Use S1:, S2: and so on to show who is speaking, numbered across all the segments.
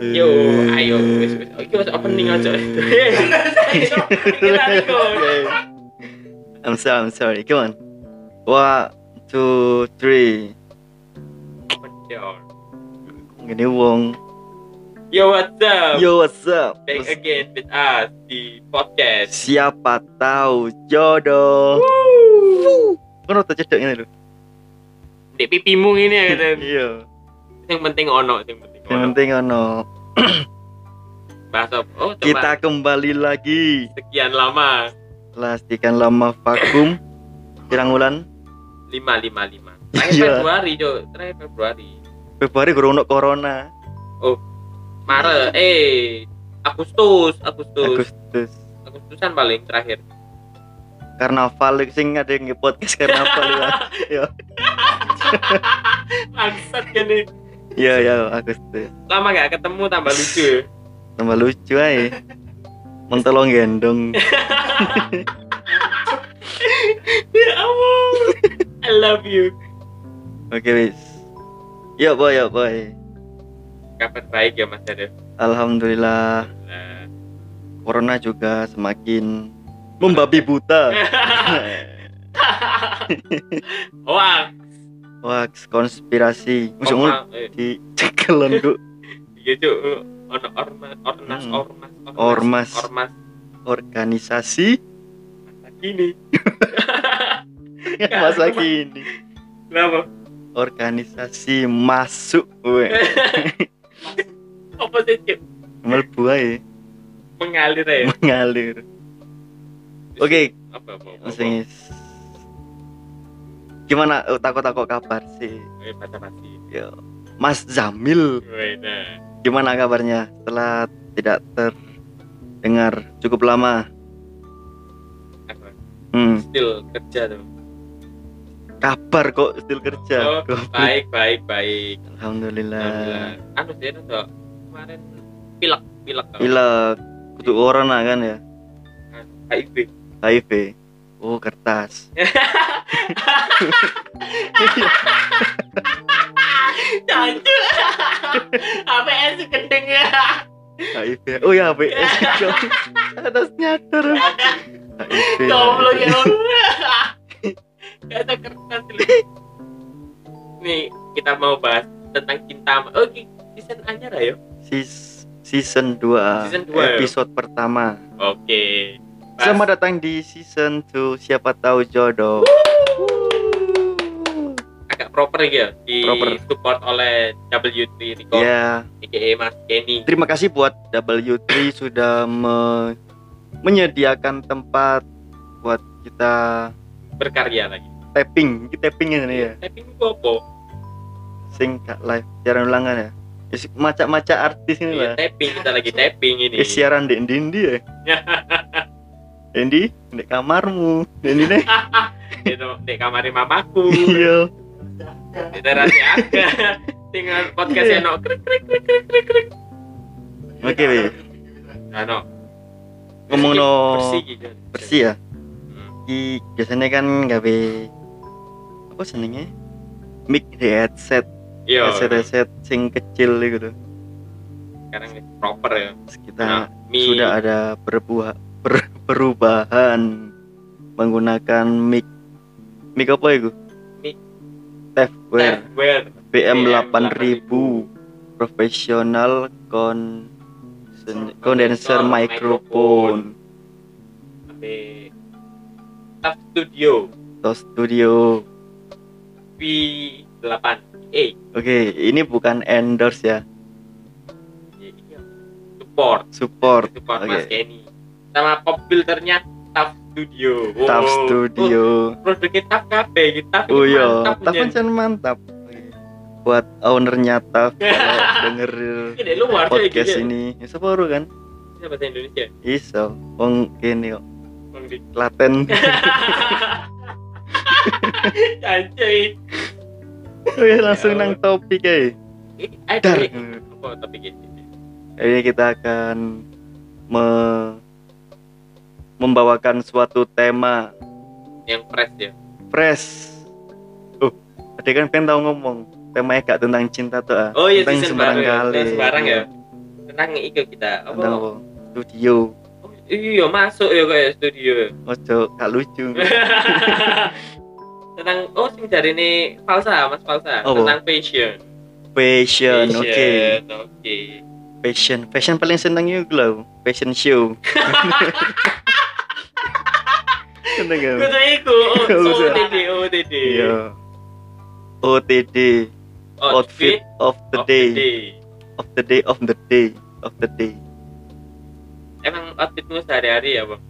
S1: Yo, ayo wis wis. Iki wis opening aja. Iki lari kok.
S2: I'm sorry, I'm sorry. Come on. One, two, three.
S1: Open door.
S2: Ngene wong.
S1: Yo, what's up? Eh,
S2: Yo, what's up?
S1: Back again with us di podcast.
S2: Siapa tahu jodoh. Kan otak cedek ngene lho.
S1: Di pipimu ini ya kan.
S2: Iya.
S1: Yang penting ono, yang penting
S2: Yang
S1: ono.
S2: penting ono.
S1: Bahas apa? Oh, coba.
S2: Kita kembali lagi.
S1: sekian lama.
S2: Pastikan lama vakum. Pirang bulan?
S1: 555. Terakhir
S2: Iya.
S1: Februari, Cok. Terakhir Februari.
S2: Februari gurung ono corona.
S1: Maret, eh Agustus, Agustus.
S2: Agustus.
S1: Agustusan paling terakhir.
S2: Karnaval sing ada yang podcast karnaval ya.
S1: Bangsat gini.
S2: Iya, ya Agustus.
S1: Lama gak ketemu tambah lucu.
S2: Tambah lucu ae. Mentolong gendong.
S1: ya ampun. I love you.
S2: Oke wis. Yo boy, yo boy.
S1: Kabar baik ya Mas Arif.
S2: Alhamdulillah
S1: Nah.
S2: corona juga semakin membabi buta.
S1: Wah,
S2: Wah, konspirasi. Masuk mulu
S1: orma- ah, eh,
S2: di cekelan Duk.
S1: iya Cuk. Ono ormas, ormas,
S2: Hmm.
S1: ormas,
S2: Ormas.
S1: Ormas
S2: organisasi
S1: gini.
S2: masa kini.
S1: Kenapa?
S2: Organisasi masuk we.
S1: Apa sih Cuk?
S2: Melbu ae
S1: Mengalir ya.
S2: mengalir. Oke,
S1: Apa apa? apa, apa.
S2: langsung is. Gimana Eh, takut-takut kabar sih?
S1: Eh, basa-basi.
S2: Yo. Mas Zamil,
S1: Weh, nah.
S2: gimana kabarnya setelah tidak terdengar cukup lama?
S1: Apa?
S2: Hmm.
S1: Still kerja tuh.
S2: kabar kok still kerja
S1: Oh, baik, baik, baik. Alhamdulillah.
S2: alhamdulillah
S1: Anu sih itu kemarin pilek, pilek. tau.
S2: pilek kutu corona kan ya
S1: HIV.
S2: HIV oh kertas
S1: Cancu. APS gendeng ya.
S2: HIV oh ya ABS kertas nyater HIV
S1: Goblok ya. Allah. Gak ada kertas lu. Nih, kita mau bahas tentang cinta. Oke, season ya, anyar ayo.
S2: Sis- season 2
S1: Season dua, ya.
S2: episode pertama
S1: Oke. Pas.
S2: selamat datang di season 2 siapa tahu jodoh
S1: agak proper ya di
S2: Proper.
S1: support oleh W3 Record
S2: ya
S1: aka Mas Kenny.
S2: terima kasih buat W3 sudah me- menyediakan tempat buat kita
S1: berkarya lagi.
S2: tapping, ini tapping ini ya.
S1: Tapi ini gua apa?
S2: Sing gak live siaran ulangan ya. Ya, si- Macak-macak artis ini
S1: Iya,
S2: lah.
S1: tapping kita lagi tapping ini.
S2: Ya, siaran di Endi Endi ya. Endi, di kamarmu. Endi nih.
S1: Di di kamar mamaku.
S2: Iya.
S1: Di teras aku. Tinggal podcast
S2: Iya.
S1: eno krik krik krik krik krik krik.
S2: Oke, Wi.
S1: Nah, no.
S2: Ngomong no
S1: bersih gitu.
S2: bersih ya.
S1: Hmm.
S2: Ki biasanya kan gawe apa senengnya? Mic di headset,
S1: Iya.
S2: headset headset sing kecil gitu.
S1: Sekarang ini proper ya.
S2: Terus kita Nah,
S1: Mi
S2: sudah ada berbuah per- perubahan menggunakan mic mic apa itu?
S1: Mic.
S2: Tefware
S1: well.
S2: BM
S1: BM
S2: 8000 profesional con condenser
S1: Condenser
S2: microphone
S1: Tapi Staff Studio
S2: to studio.
S1: V8 eh
S2: Oke, ini bukan endorse ya,
S1: iya. support
S2: support
S1: support
S2: Oke.
S1: Mas Kenny sama pop filternya Staff Studio Wow.
S2: Taf
S1: Oh,
S2: Studio.
S1: produknya Taf kabeh iki Taf
S2: Oh iya,
S1: mantap
S2: Taf
S1: punya.
S2: kan mantap. Buat ownernya Taf kalau denger
S1: Iki dari luar cuy, iki
S2: podcast
S1: dia.
S2: ini ya, separuh kan
S1: Ini bahasa Indonesia
S2: iso wong kene kok
S1: Bang Dik.
S2: Klaten
S1: Anjay.
S2: Oke, langsung
S1: Ya.
S2: nang topik e. ae
S1: Ih, ayo,
S2: Dar.
S1: Dik. Apa topik ini?
S2: ini kita akan me- membawakan suatu tema
S1: yang fresh ya
S2: fresh oh tadi kan pengen tahu ngomong temanya gak tentang cinta tuh ah.
S1: Oh iya,
S2: tentang
S1: season
S2: sembarang
S1: baru
S2: kali
S1: ya. Oh.
S2: Iya.
S1: Tentang sembarang ya. Tenang iki kita. Apa?
S2: Atau studio
S1: Oh, iya masuk ya kayak studio.
S2: ojo gak lucu
S1: tentang oh sing dari ini falsa mas falsa
S2: Apa?
S1: tentang passion.
S2: fashion oke
S1: Passion, Oke.
S2: fashion fashion paling seneng yuk lo fashion show seneng gak
S1: Gue tuh iku oh,
S2: Gak usah.
S1: OTD OTD.
S2: iya OTD outfit of the
S1: of the
S2: day
S1: day.
S2: of the day of the day of the day
S1: Emang outfitmu sehari-hari ya bang?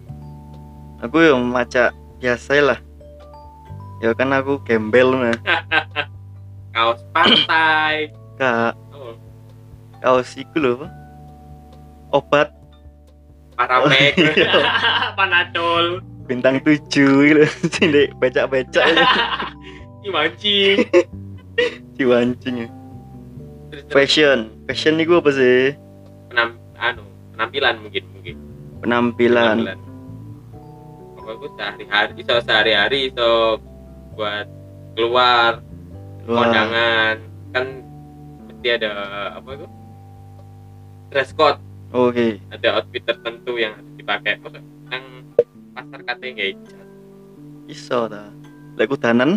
S2: aku yang maca biasa lah ya kan aku gembel nah
S1: Kaos pantai.
S2: kak
S1: oh,
S2: kaos iku lho apa? obat
S1: Paramek.
S2: Iya.
S1: Panadol.
S2: bintang tujuh gitu sini baca baca
S1: Dimancing.
S2: diwancing
S1: Terus terus
S2: fashion fashion itu apa sih
S1: penam, anu, penampilan mungkin mungkin.
S2: penampilan
S1: Pokoknya gue sehari-hari, iso sehari-hari, iso buat keluar,
S2: Wah,
S1: kondangan, kan mesti ada apa itu? Dress code,
S2: oke
S1: ada outfit tertentu yang harus dipakai. Maksud, yang pasar katanya kayak gitu.
S2: iso ta lek udanan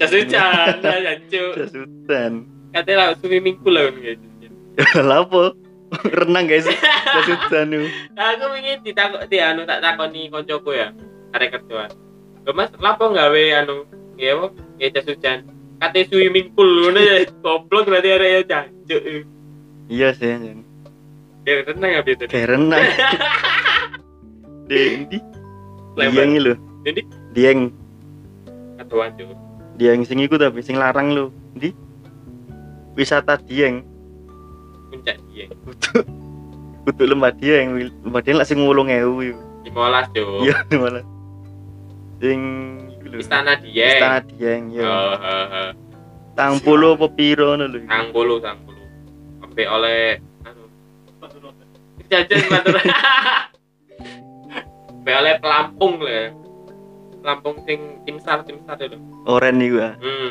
S1: jas hujan, ya cu.
S2: jas udan
S1: Katanya lah swimming pool lah kan, kayak gitu.
S2: Lah apa renang guys jas udan itu.
S1: Nah, aku ingin ditakut di anu tak takoni koncoku ya, arek kerjaan. Lho Mas, lapo gawe anu ya apa? Ya jas hujan. Kate swimming pool ngono ya goblok berarti arek ya jancuk.
S2: iya sih Jan.
S1: Ya renang habis itu.
S2: kayak renang di di
S1: Lebar.
S2: dieng lho
S1: Jadi
S2: dieng
S1: katuan cuk.
S2: dieng sing iku tapi sing larang lho di wisata dieng
S1: Puncak dia.
S2: kudu kudu lembah dia yang lembah dia lah sing ngulung ewu
S1: Dimolas cuk.
S2: iya malah sing iku lho.
S1: Oh. Istana Oh. dia. Eh,
S2: istana dia yang
S1: Heeh.
S2: ya
S1: heeh.
S2: tang puluh apa piro ngono lho iku.
S1: Sang bulu, sang bulu. Sampai oleh anu jajan matur. Sampai oleh pelampung lah. ya. Pelampung sing tim sar tim sar itu.
S2: oren iku ah
S1: Hmm.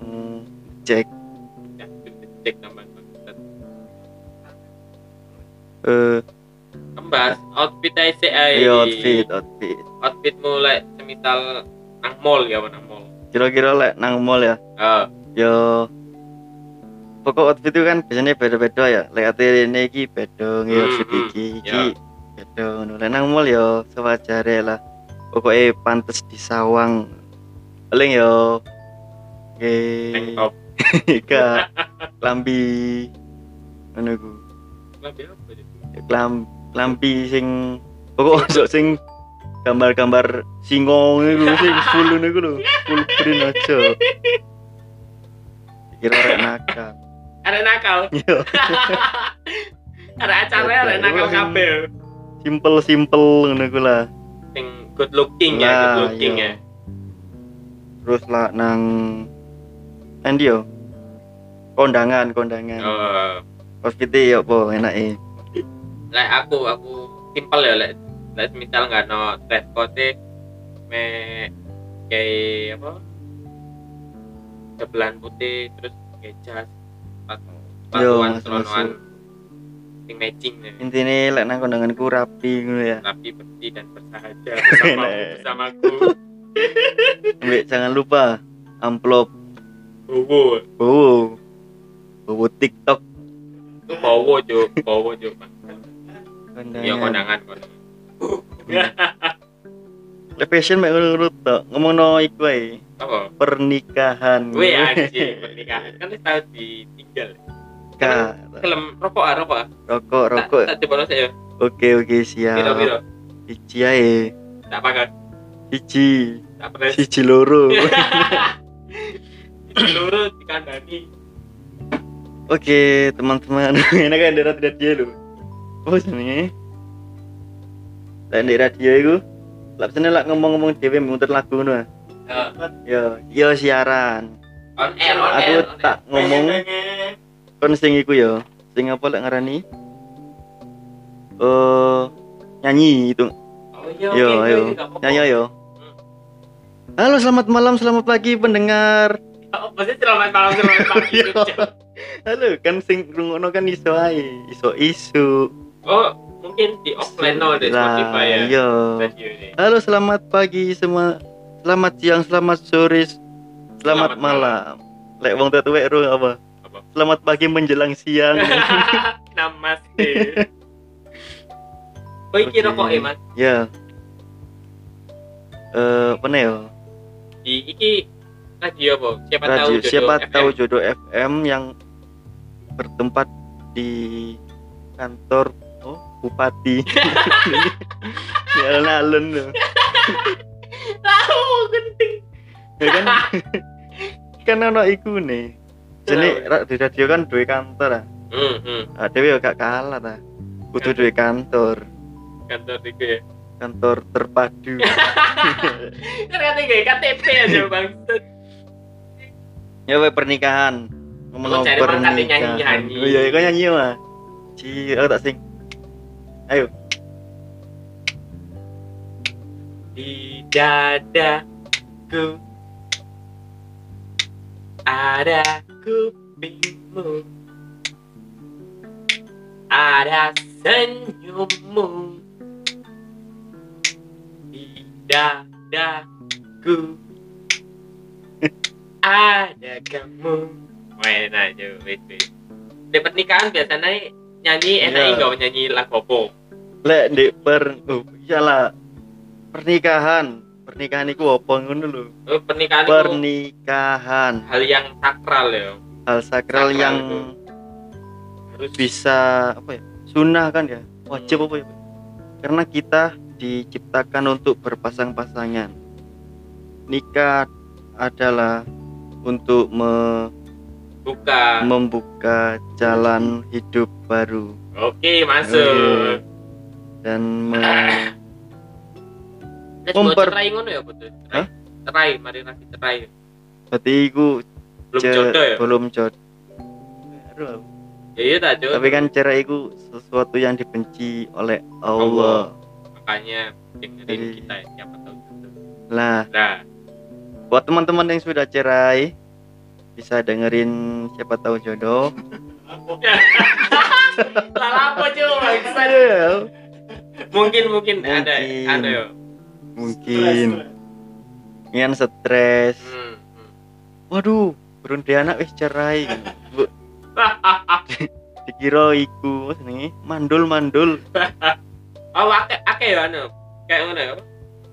S2: Hmm, cek
S1: Ya, cek tambahan bangsat.
S2: eh
S1: Kembas outfit ae sik ae.
S2: iya, outfit outfit
S1: Outfit mulai semisal nang mall ya nang mall. Eh,
S2: kira-kira lek nang mall ya
S1: Heeh.
S2: yo pokok outfit itu kan biasanya beda-beda ya lek ate rene iki beda ngi
S1: Hmm,
S2: outfit
S1: hmm,
S2: iki iki
S1: ya.
S2: beda ngono lek nang mall yo sewajare lah pokoknya pantes disawang paling yo
S1: tank
S2: nggih
S1: top.
S2: gak lambi ngono ku
S1: Lah biar apa jadi?
S2: klam klampi sing pokok ojo sing gambar-gambar singo ngono iku, sing full ngono iku lho full print aja kira rek nakal
S1: Arek nakal.
S2: yo
S1: Arek acara arek nakal kabeh.
S2: simple simple ngono iku lah
S1: Sing good looking ya, good
S2: Nah,
S1: looking
S2: iya.
S1: ya.
S2: terus lah nang endi yo kondangan kondangan
S1: Oh.
S2: outfit yo apa enake
S1: lek aku aku simpel ya lek lek misal nggak no dress code me kayak apa sebelan putih terus kayak jas sepatu
S2: Yo,
S1: sepatuan
S2: masuk-masuk.
S1: selonoan sing matching ya.
S2: intine lek nang kondanganku rapi ngono ya
S1: tapi bersih dan bersahaja bersama
S2: Enak.
S1: bersamaku
S2: Mbak, jangan lupa amplop
S1: bowo
S2: bowo bowo tiktok
S1: itu bowo jo bowo jo Bang.
S2: kondangan Iya.
S1: iya kondangan kondangan
S2: Lek fashion mek ngono tok. Ngomongno iku ae,
S1: apa
S2: pernikahan.
S1: gue anjing pernikahan kan wis tau ditinggal
S2: Ka,
S1: kelem rokok ah rokok ah
S2: rokok,
S1: Tak-
S2: rokok. Ya.
S1: tak coba saya
S2: Oke, oke,
S1: piro
S2: siap.
S1: piro
S2: Siji ae.
S1: tak pakai
S2: Siji,
S1: tak pernah
S2: siji loro.
S1: seluruh dikandani
S2: Oke, teman-teman. Enak kan daerah tidak dia lho. Apa jenenge? Lek ndek radio iku, lek sene lek ngomong-ngomong dhewe muter lagu ngono. ah.
S1: Eh,
S2: Yo, yo siaran.
S1: on air on
S2: Aku
S1: air on air.
S2: tak ngomong.
S1: Pengen,
S2: Kon sing iku yo. Sing apa lek ngarani? Eh nyanyi itu
S1: pengen. oh iya
S2: Yo,
S1: oke,
S2: ayo.
S1: gue juga ngomong.
S2: Nyanyi yo.
S1: Hmm.
S2: Halo, selamat malam, selamat pagi pendengar.
S1: Oh, pasti selamat malam selamat pagi
S2: Yo.
S1: Jogja.
S2: halo kan sing rungono kan iso ae iso isu
S1: oh mungkin di offline no di Spotify ya
S2: iya
S1: radio ini
S2: halo selamat pagi semua selamat siang selamat sore selamat,
S1: Selamat
S2: malam, lek wong tetuwek ro apa
S1: Apa?
S2: selamat pagi menjelang siang
S1: namaste oh
S2: Oke.
S1: iki rokok ya mas
S2: ya eh apa nih ya
S1: di iki radio apa siapa tahu
S2: radio
S1: jodoh
S2: siapa
S1: FM.
S2: tahu jodoh FM yang bertempat di kantor oh bupati di alun-alun tuh.
S1: tahu genting
S2: ya kan kan ono iku nih jadi ra- di radio kan dua kantor ah
S1: hmm, hmm.
S2: Ah, dewe ya gak kalah ta kudu dua kantor
S1: kantor ya. di gue
S2: kantor terpadu
S1: ternyata gak KTP aja bang
S2: ya we pernikahan ngomong
S1: Lu cari
S2: pernikahan
S1: mangkat yang nyanyi-nyanyi.
S2: oh iya kau nyanyi mah ci aku tak sing
S1: di dadaku ada kupingmu ada senyummu di dadaku ada kamu enak juga di pernikahan biasanya nyanyi enak
S2: Iya.
S1: nggak nyanyi lagu apa
S2: lek di per oh iyalah pernikahan pernikahan iku apa ngono lho
S1: Eh, pernikahan itu
S2: pernikahan
S1: hal yang sakral ya
S2: hal sakral
S1: Sakral
S2: yang
S1: itu. harus
S2: bisa apa ya sunnah kan ya wajib
S1: Hmm.
S2: apa ya karena kita diciptakan untuk berpasang-pasangan nikah adalah untuk me-
S1: buka
S2: Hmm. membuka jalan hidup baru
S1: Oke, masuk.
S2: dan me-
S1: Nek mau
S2: Memper-
S1: cerai ngono ya, betul.
S2: Hah?
S1: Cerai. Cerai, mari nanti cerai.
S2: berarti iku
S1: Belum
S2: ce-
S1: jodoh ya.
S2: belum jodoh
S1: Ya iya tak jodoh.
S2: tapi kan cerai itu sesuatu yang dibenci oleh Allah.
S1: makanya dengerin
S2: Jadi-
S1: kita ya, siapa tahu jodoh.
S2: Nah,
S1: Nah,
S2: buat teman-teman yang sudah cerai bisa dengerin siapa tahu jodoh.
S1: salah apa coba bangsa?
S2: Aduh,
S1: Mungkin mungkin ada
S2: Mungkin.
S1: ada ya.
S2: Mungkin yang stres.
S1: Hmm, hmm.
S2: Waduh, burung dia anak wis cerai. Bu,
S1: Ah, ah, ah.
S2: dikira iku senengi mandul-mandul.
S1: Oh, ake ake ya anu. Kayak ngono ya.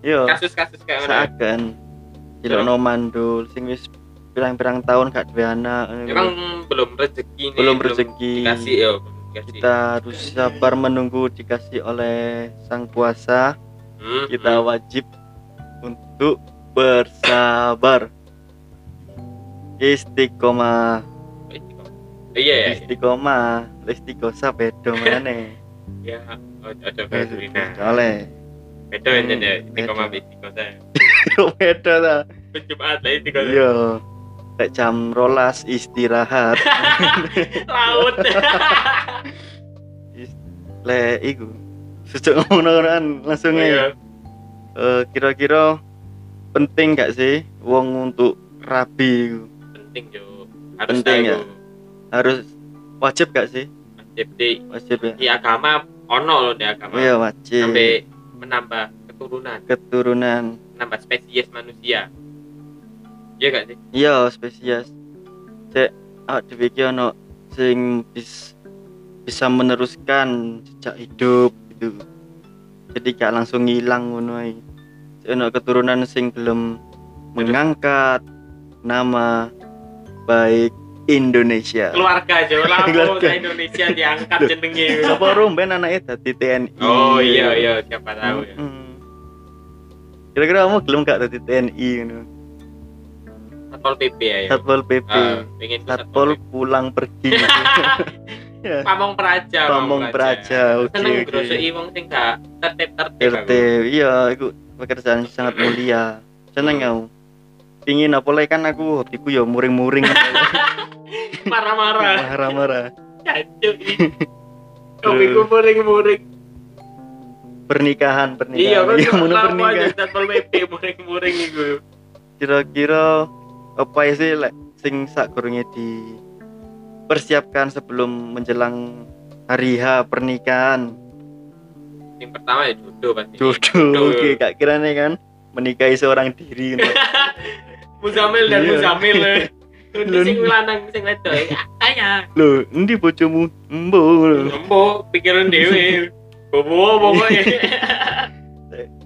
S2: Yo,
S1: Kasus-kasus kayak ngono. ya.
S2: seakan dilono mandul sing wis pirang-pirang tahun gak duwe anak.
S1: Memang belum rezeki nih.
S2: belum rezeki.
S1: dikasih ya, belum dikasih.
S2: kita harus sabar menunggu dikasih oleh sang kuasa
S1: Hmm,
S2: kita
S1: hmm.
S2: wajib untuk bersabar istiqomah
S1: Iya ya.
S2: istiqomah istiqosa bedo mana
S1: Ya, ojo Katrina.
S2: oleh
S1: Beto ya
S2: Hmm,
S1: jadi tiga
S2: betul.
S1: mabit tiga saya.
S2: bedo ta
S1: Jumat lah tiga
S2: iya Lek jam rolas istirahat
S1: laut.
S2: le iku sejak ngomong langsung aja
S1: Iya.
S2: Eh, kira-kira penting gak sih wong untuk rabi iku?
S1: Penting jo. Harus
S2: Penting
S1: tahu.
S2: ya? harus wajib gak sih
S1: Wajib di,
S2: wajib ya
S1: di agama ono loh di agama.
S2: iya wajib
S1: Iya, Sampai menambah keturunan,
S2: keturunan
S1: menambah spesies manusia. Iya gak sih?
S2: iya spesies cek awak dhewe iki ono sing bis- bisa meneruskan jejak hidup gitu jadi gak langsung hilang ngono ae Cek ono keturunan sing belum mengangkat nama baik Indonesia
S1: Keluarga jo, lapo
S2: Keluarga. Iya.
S1: sa Indonesia diangkat
S2: Duh.
S1: jenenge.
S2: apa rumben anaknya dadi TNI
S1: Oh iya iya siapa tahu ya.
S2: Mm-mm. kira-kira kamu belum gak dadi TNI ngono
S1: Satpol PP ya. ya.
S2: Satpol PP
S1: Ah, pengen ke
S2: Satpol pulang pergi Ya.
S1: PP. Pamong Praja.
S2: Pamong Praja Iya, oke
S1: seneng
S2: oke.
S1: groseki wong sing gak tertib tertib
S2: RT iya itu pekerjaan sangat mulia seneng
S1: Hmm.
S2: aku pingin apa lagi kan aku hobiku ya muring-muring
S1: marah-marah
S2: marah-marah
S1: cacuk kopi ku muring-muring
S2: pernikahan pernikahan
S1: iya kan
S2: Iya,
S1: kok
S2: mono
S1: lama aja
S2: pernikahan
S1: satpol pp muring-muring iku
S2: ya kira-kira apa sih lek sing sak di persiapkan sebelum menjelang hari H pernikahan
S1: Yang pertama ya jodoh pasti.
S2: jodoh oke gak kira nih kan menikahi seorang diri gitu.
S1: Muzamil dan
S2: Iya.
S1: Muzamil. Nanti
S2: Lun.
S1: sing lanang sing wedok. ya, Tanya.
S2: loh ini bojomu embo
S1: Embo pikiran dewe. Bobo Iya.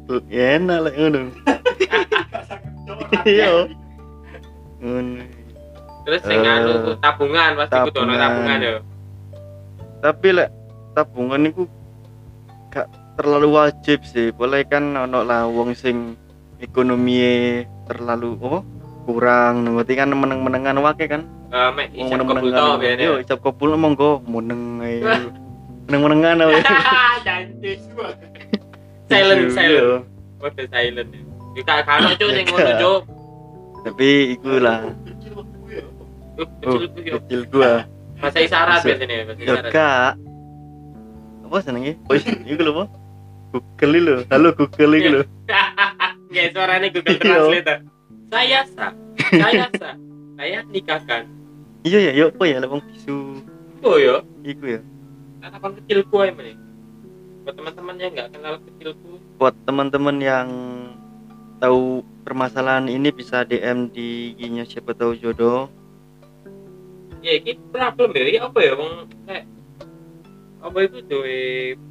S1: pokoknya.
S2: enak lah ngono iya Hmm. ngono
S1: Terus sing
S2: Eh,
S1: anu tuh, tabungan pasti kudu ono
S2: tabungan.
S1: tabungan yo.
S2: tapi lek tabungan niku gak terlalu wajib sih boleh kan ono lah wong sing ekonominya terlalu oh kurang berarti kan meneng-menengan wake kan
S1: Eh, mek
S2: Wong
S1: isin kebul to biyen.
S2: yo ijab kabul monggo meneng ae. meneng-menengan ae.
S1: Janji. Silent,
S2: Iya.
S1: silent. Mode silent. Yo gak karo cuk sing ngono cuk.
S2: tapi iku lah
S1: Yuh,
S2: Oh,
S1: kecil ku yo.
S2: kecil gua
S1: Masai syarat
S2: Masuk.
S1: biasanya masai
S2: yo
S1: syarat.
S2: kak apa senengnya oh iku lho apa Google lho halo Google iku lho
S1: Nggak suaranya Google
S2: Iya.
S1: Translate. ah. Saya sah. Saya sah. Saya nikahkan.
S2: iya ya yo apa ya lek wong bisu
S1: Oh yo.
S2: iku ya
S1: Tatapan kecilku ae meneh. Buat teman-teman yang nggak kenal kecilku,
S2: buat teman-teman yang tahu permasalahan ini bisa DM di IG-nya siapa tahu jodoh
S1: ya ini problem ya. Ini apa ya wong kayak apa itu duwe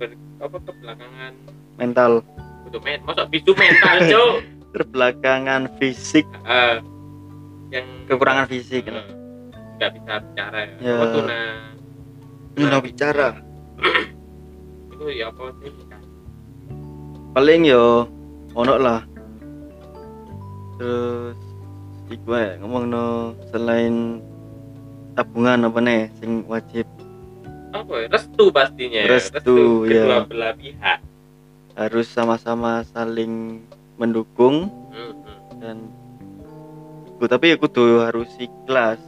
S1: ber, apa kebelakangan
S2: mental
S1: butuh men masuk bisu mental cok
S2: terbelakangan fisik
S1: Eh, yang
S2: kekurangan fisik
S1: Eh, nggak bisa bicara ya,
S2: Ya.
S1: Apa tuh, nah
S2: Nggak bicara
S1: itu ya apa sih
S2: paling yo ono lah terus iku ya ngomong no selain tabungan apa nih sing wajib
S1: apa ya restu pastinya ya.
S2: Restu, ya.
S1: kedua belah pihak
S2: harus sama-sama saling mendukung
S1: Hmm, hmm.
S2: dan iku tapi aku tuh harus ikhlas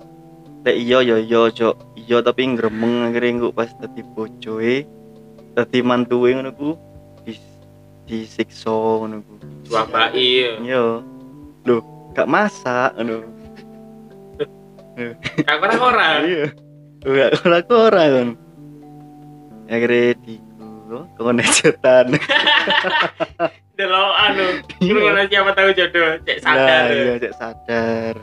S2: Lek iya yo yo jo iya tapi ngremeng akhirnya engko pas tadi bojoe tadi mantue ngono ku dis disiksa ngono ku
S1: dua bayi ya.
S2: yo loh gak masak ngono
S1: Kak orang orang
S2: iya gak ora ora kan akhirnya di kau necetan
S1: delok anu kurang siapa tahu jodoh cek
S2: nah,
S1: sadar
S2: iya cek sadar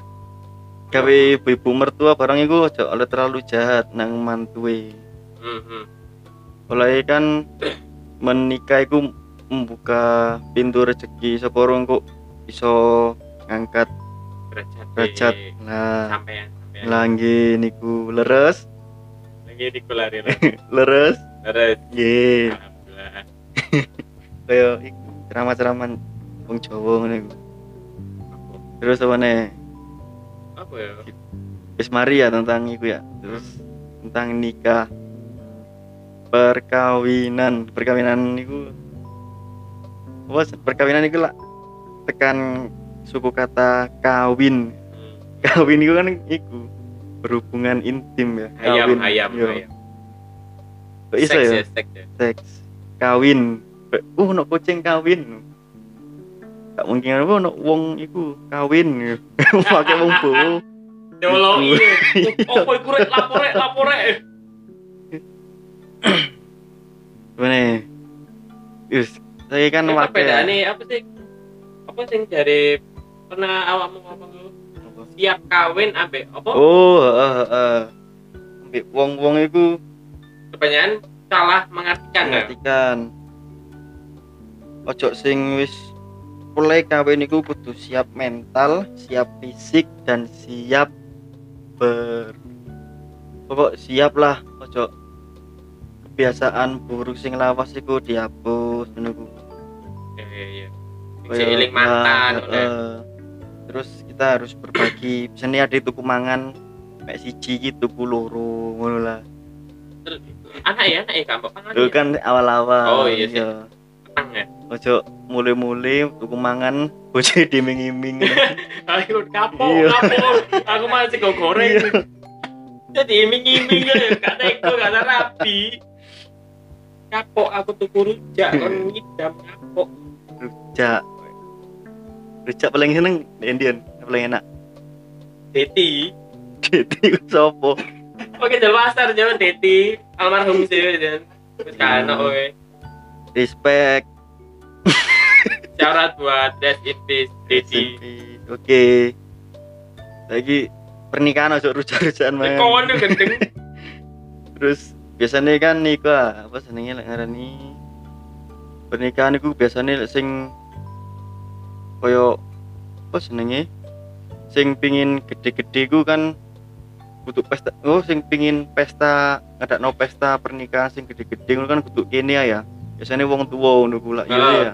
S2: gawe ibu-ibu mertua barang iku aja oleh terlalu jahat nang mantue
S1: Hmm, hmm.
S2: oleh kan menikah iku membuka pintu rezeki sapa orang kok iso ngangkat
S1: derajat
S2: derajat
S1: eh,
S2: nah
S1: sampean sampean
S2: langgi niku leres
S1: lagi di kulari lah
S2: leres Iya.
S1: terus
S2: nggih
S1: alhamdulillah
S2: kaya iku ceramah-ceramah wong Jawa ngono iku terus apa nih
S1: apa ya
S2: wis mari ya tentang iku ya terus tentang nikah perkawinan perkawinan iku apa sih? perkawinan iku lah tekan suku kata kawin
S1: Hmm.
S2: kawin iku kan iku berhubungan intim ya
S1: ayam
S2: kawin
S1: ayam
S2: Yo.
S1: ayam
S2: Kok iso
S1: Seks
S2: ya
S1: ya, seks ya.
S2: seks kawin Be- uh no kucing kawin gak mungkin apa no wong iku kawin pakai wong bowo
S1: Dewolo iya. Opo iku rek lapore lapore.
S2: Gimana? ya? Yus, saya kan
S1: Apa
S2: pakai
S1: bedane apa sih? Apa sing dari pernah awakmu ngomong dulu? siap kawin ambek apa?
S2: Oh, heeh heeh. Ambil wong-wong iku
S1: Kebanyakan salah mengartikan ya.
S2: perhatikan. Ojo sing wis mulai kawin iku kudu siap mental, siap fisik dan siap ber pokok siap lah ojo kebiasaan buruk sing lawas iku dihapus menunggu
S1: Iya iya iya. gitu Sing
S2: Kayak,
S1: seiling mantan
S2: nah,
S1: udah.
S2: eh, terus kita harus berbagi seni ada tuku mangan mek siji iki tuku loro ngono lah
S1: Anak ya, anak ya gak apa-apa kan.
S2: Dulu kan awal-awal
S1: Oh, iya sih.
S2: iya.
S1: Petang ya.
S2: ojo mulai-mulai tuku mangan bojo diming-iming
S1: Ayo kapok,
S2: Iya.
S1: kapok. Aku masih kok goreng.
S2: Iya.
S1: Jadi iming-iming ya, gak tega, gak ada rapi. Kapok aku tuku rujak kon ngidam kapok.
S2: rujak rujak paling seneng Indian paling enak
S1: Deti.
S2: jadi sopo
S1: Oke, jelas pasar jangan Deti, almarhum sih dan wis
S2: Iya.
S1: kana oke.
S2: respect
S1: Syarat buat Rest in Peace Deti.
S2: SMP. oke lagi pernikahan ojo rujak-rujakan man.
S1: Kawan tuh gendeng.
S2: terus biasanya kan niku ah, apa senengnya lek ngarani pernikahan niku biasanya lek sing koyo apa senengnya sing pingin gede-gede ku kan butuh pesta oh sing pingin pesta ada no pesta pernikahan sing gede-gede ngono kan butuh kene ya biasanya wong tua ngono gula
S1: Lah.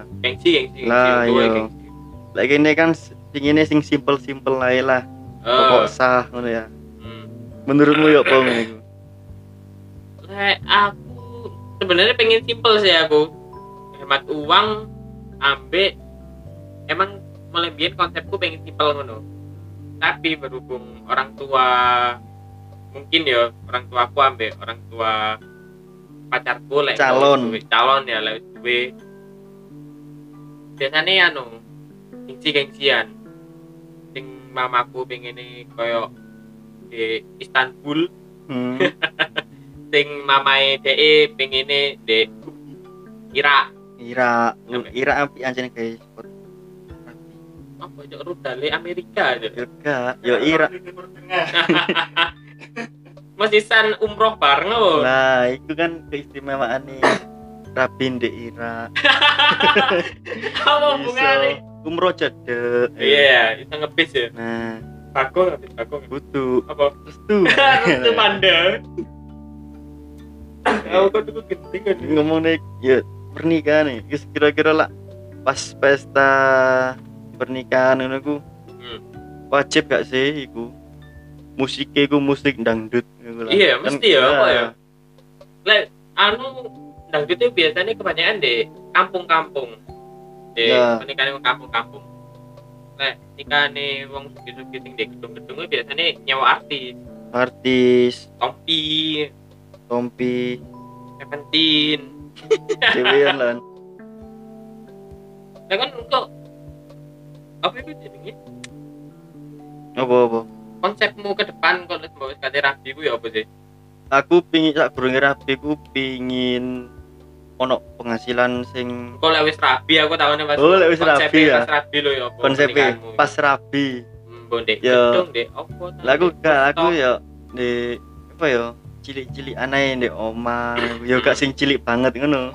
S2: ya
S1: Gengsi, gengsi, gengsi.
S2: Lah,
S1: Tua,
S2: iya.
S1: gengsi.
S2: lek kene kan pinginnya sing simple-simple ae lah
S1: Eh,
S2: pokok sah ngono ya
S1: hmm.
S2: menurutmu ya apa ngono iku
S1: Lek aku sebenarnya pengen simple sih aku. Hemat uang ambek emang mulai biyen konsepku pengen simple ngono. Tapi berhubung orang tua mungkin ya orang tua aku ambek orang tua pacarku lek
S2: Calon.
S1: wis duwe- calon ya lek wis duwe biasanya anu gengsi gengsian sing mamaku pengen koyo di Istanbul
S2: hmm.
S1: sing mamae DE pengine di Irak
S2: Ira,
S1: Apa?
S2: Ira api anjene guys.
S1: apa cok rudale Amerika aja
S2: Juga, yo Ira.
S3: Timur Tengah.
S1: masih san umroh bareng loh
S2: Nah, itu kan keistimewaan nih. Rabin di Ira.
S1: apa hubungannya
S2: Iso. Umroh jadek.
S1: Oh, iya bisa ngebis ya
S2: Nah,
S1: aku ngebis aku
S2: butuh
S1: apa
S2: restu.
S1: itu panda aku kan tuh genting kan
S2: Ngomong nih, ya pernikahan nih. Guys, kira-kira lah pas pesta pernikahan ngono ku.
S1: Hmm.
S2: Wajib gak sih iku? Musiknya ku musik dangdut ngono lah.
S1: Iya, mesti ya, apa ya?
S2: nah,
S1: anu dangdut itu biasanya kebanyakan di kampung-kampung di
S2: Ya.
S1: pernikahan wong kampung-kampung Lek nikahan wong sugih-sugih sing di gedung-gedung biasanya nyawa artis
S2: Artis,
S1: Tompi,
S2: Tompi,
S1: Seventeen.
S2: dewean lan.
S1: Lah kan kok apa itu jadinya?
S2: Apa-apa?
S1: Konsepmu ke depan kok lu mau kate rapi ku ya apa sih?
S2: aku pingin sak durunge rapi ku pingin ono penghasilan sing
S1: Kok lek wis rapi aku tahunnya pas.
S2: Oh, lek wis rabi ya.
S1: Pas rapi lo ya apa?
S2: konsepnya
S1: pernikahanmu?
S2: pas rapi
S1: Hmm, Mbok Dek,
S2: Ya.
S1: gedung Dek, opo? ta?
S2: lah aku gak
S1: Stop.
S2: aku ya di apa ya cilik-cilik aneh di oma ya gak sing cilik banget ngono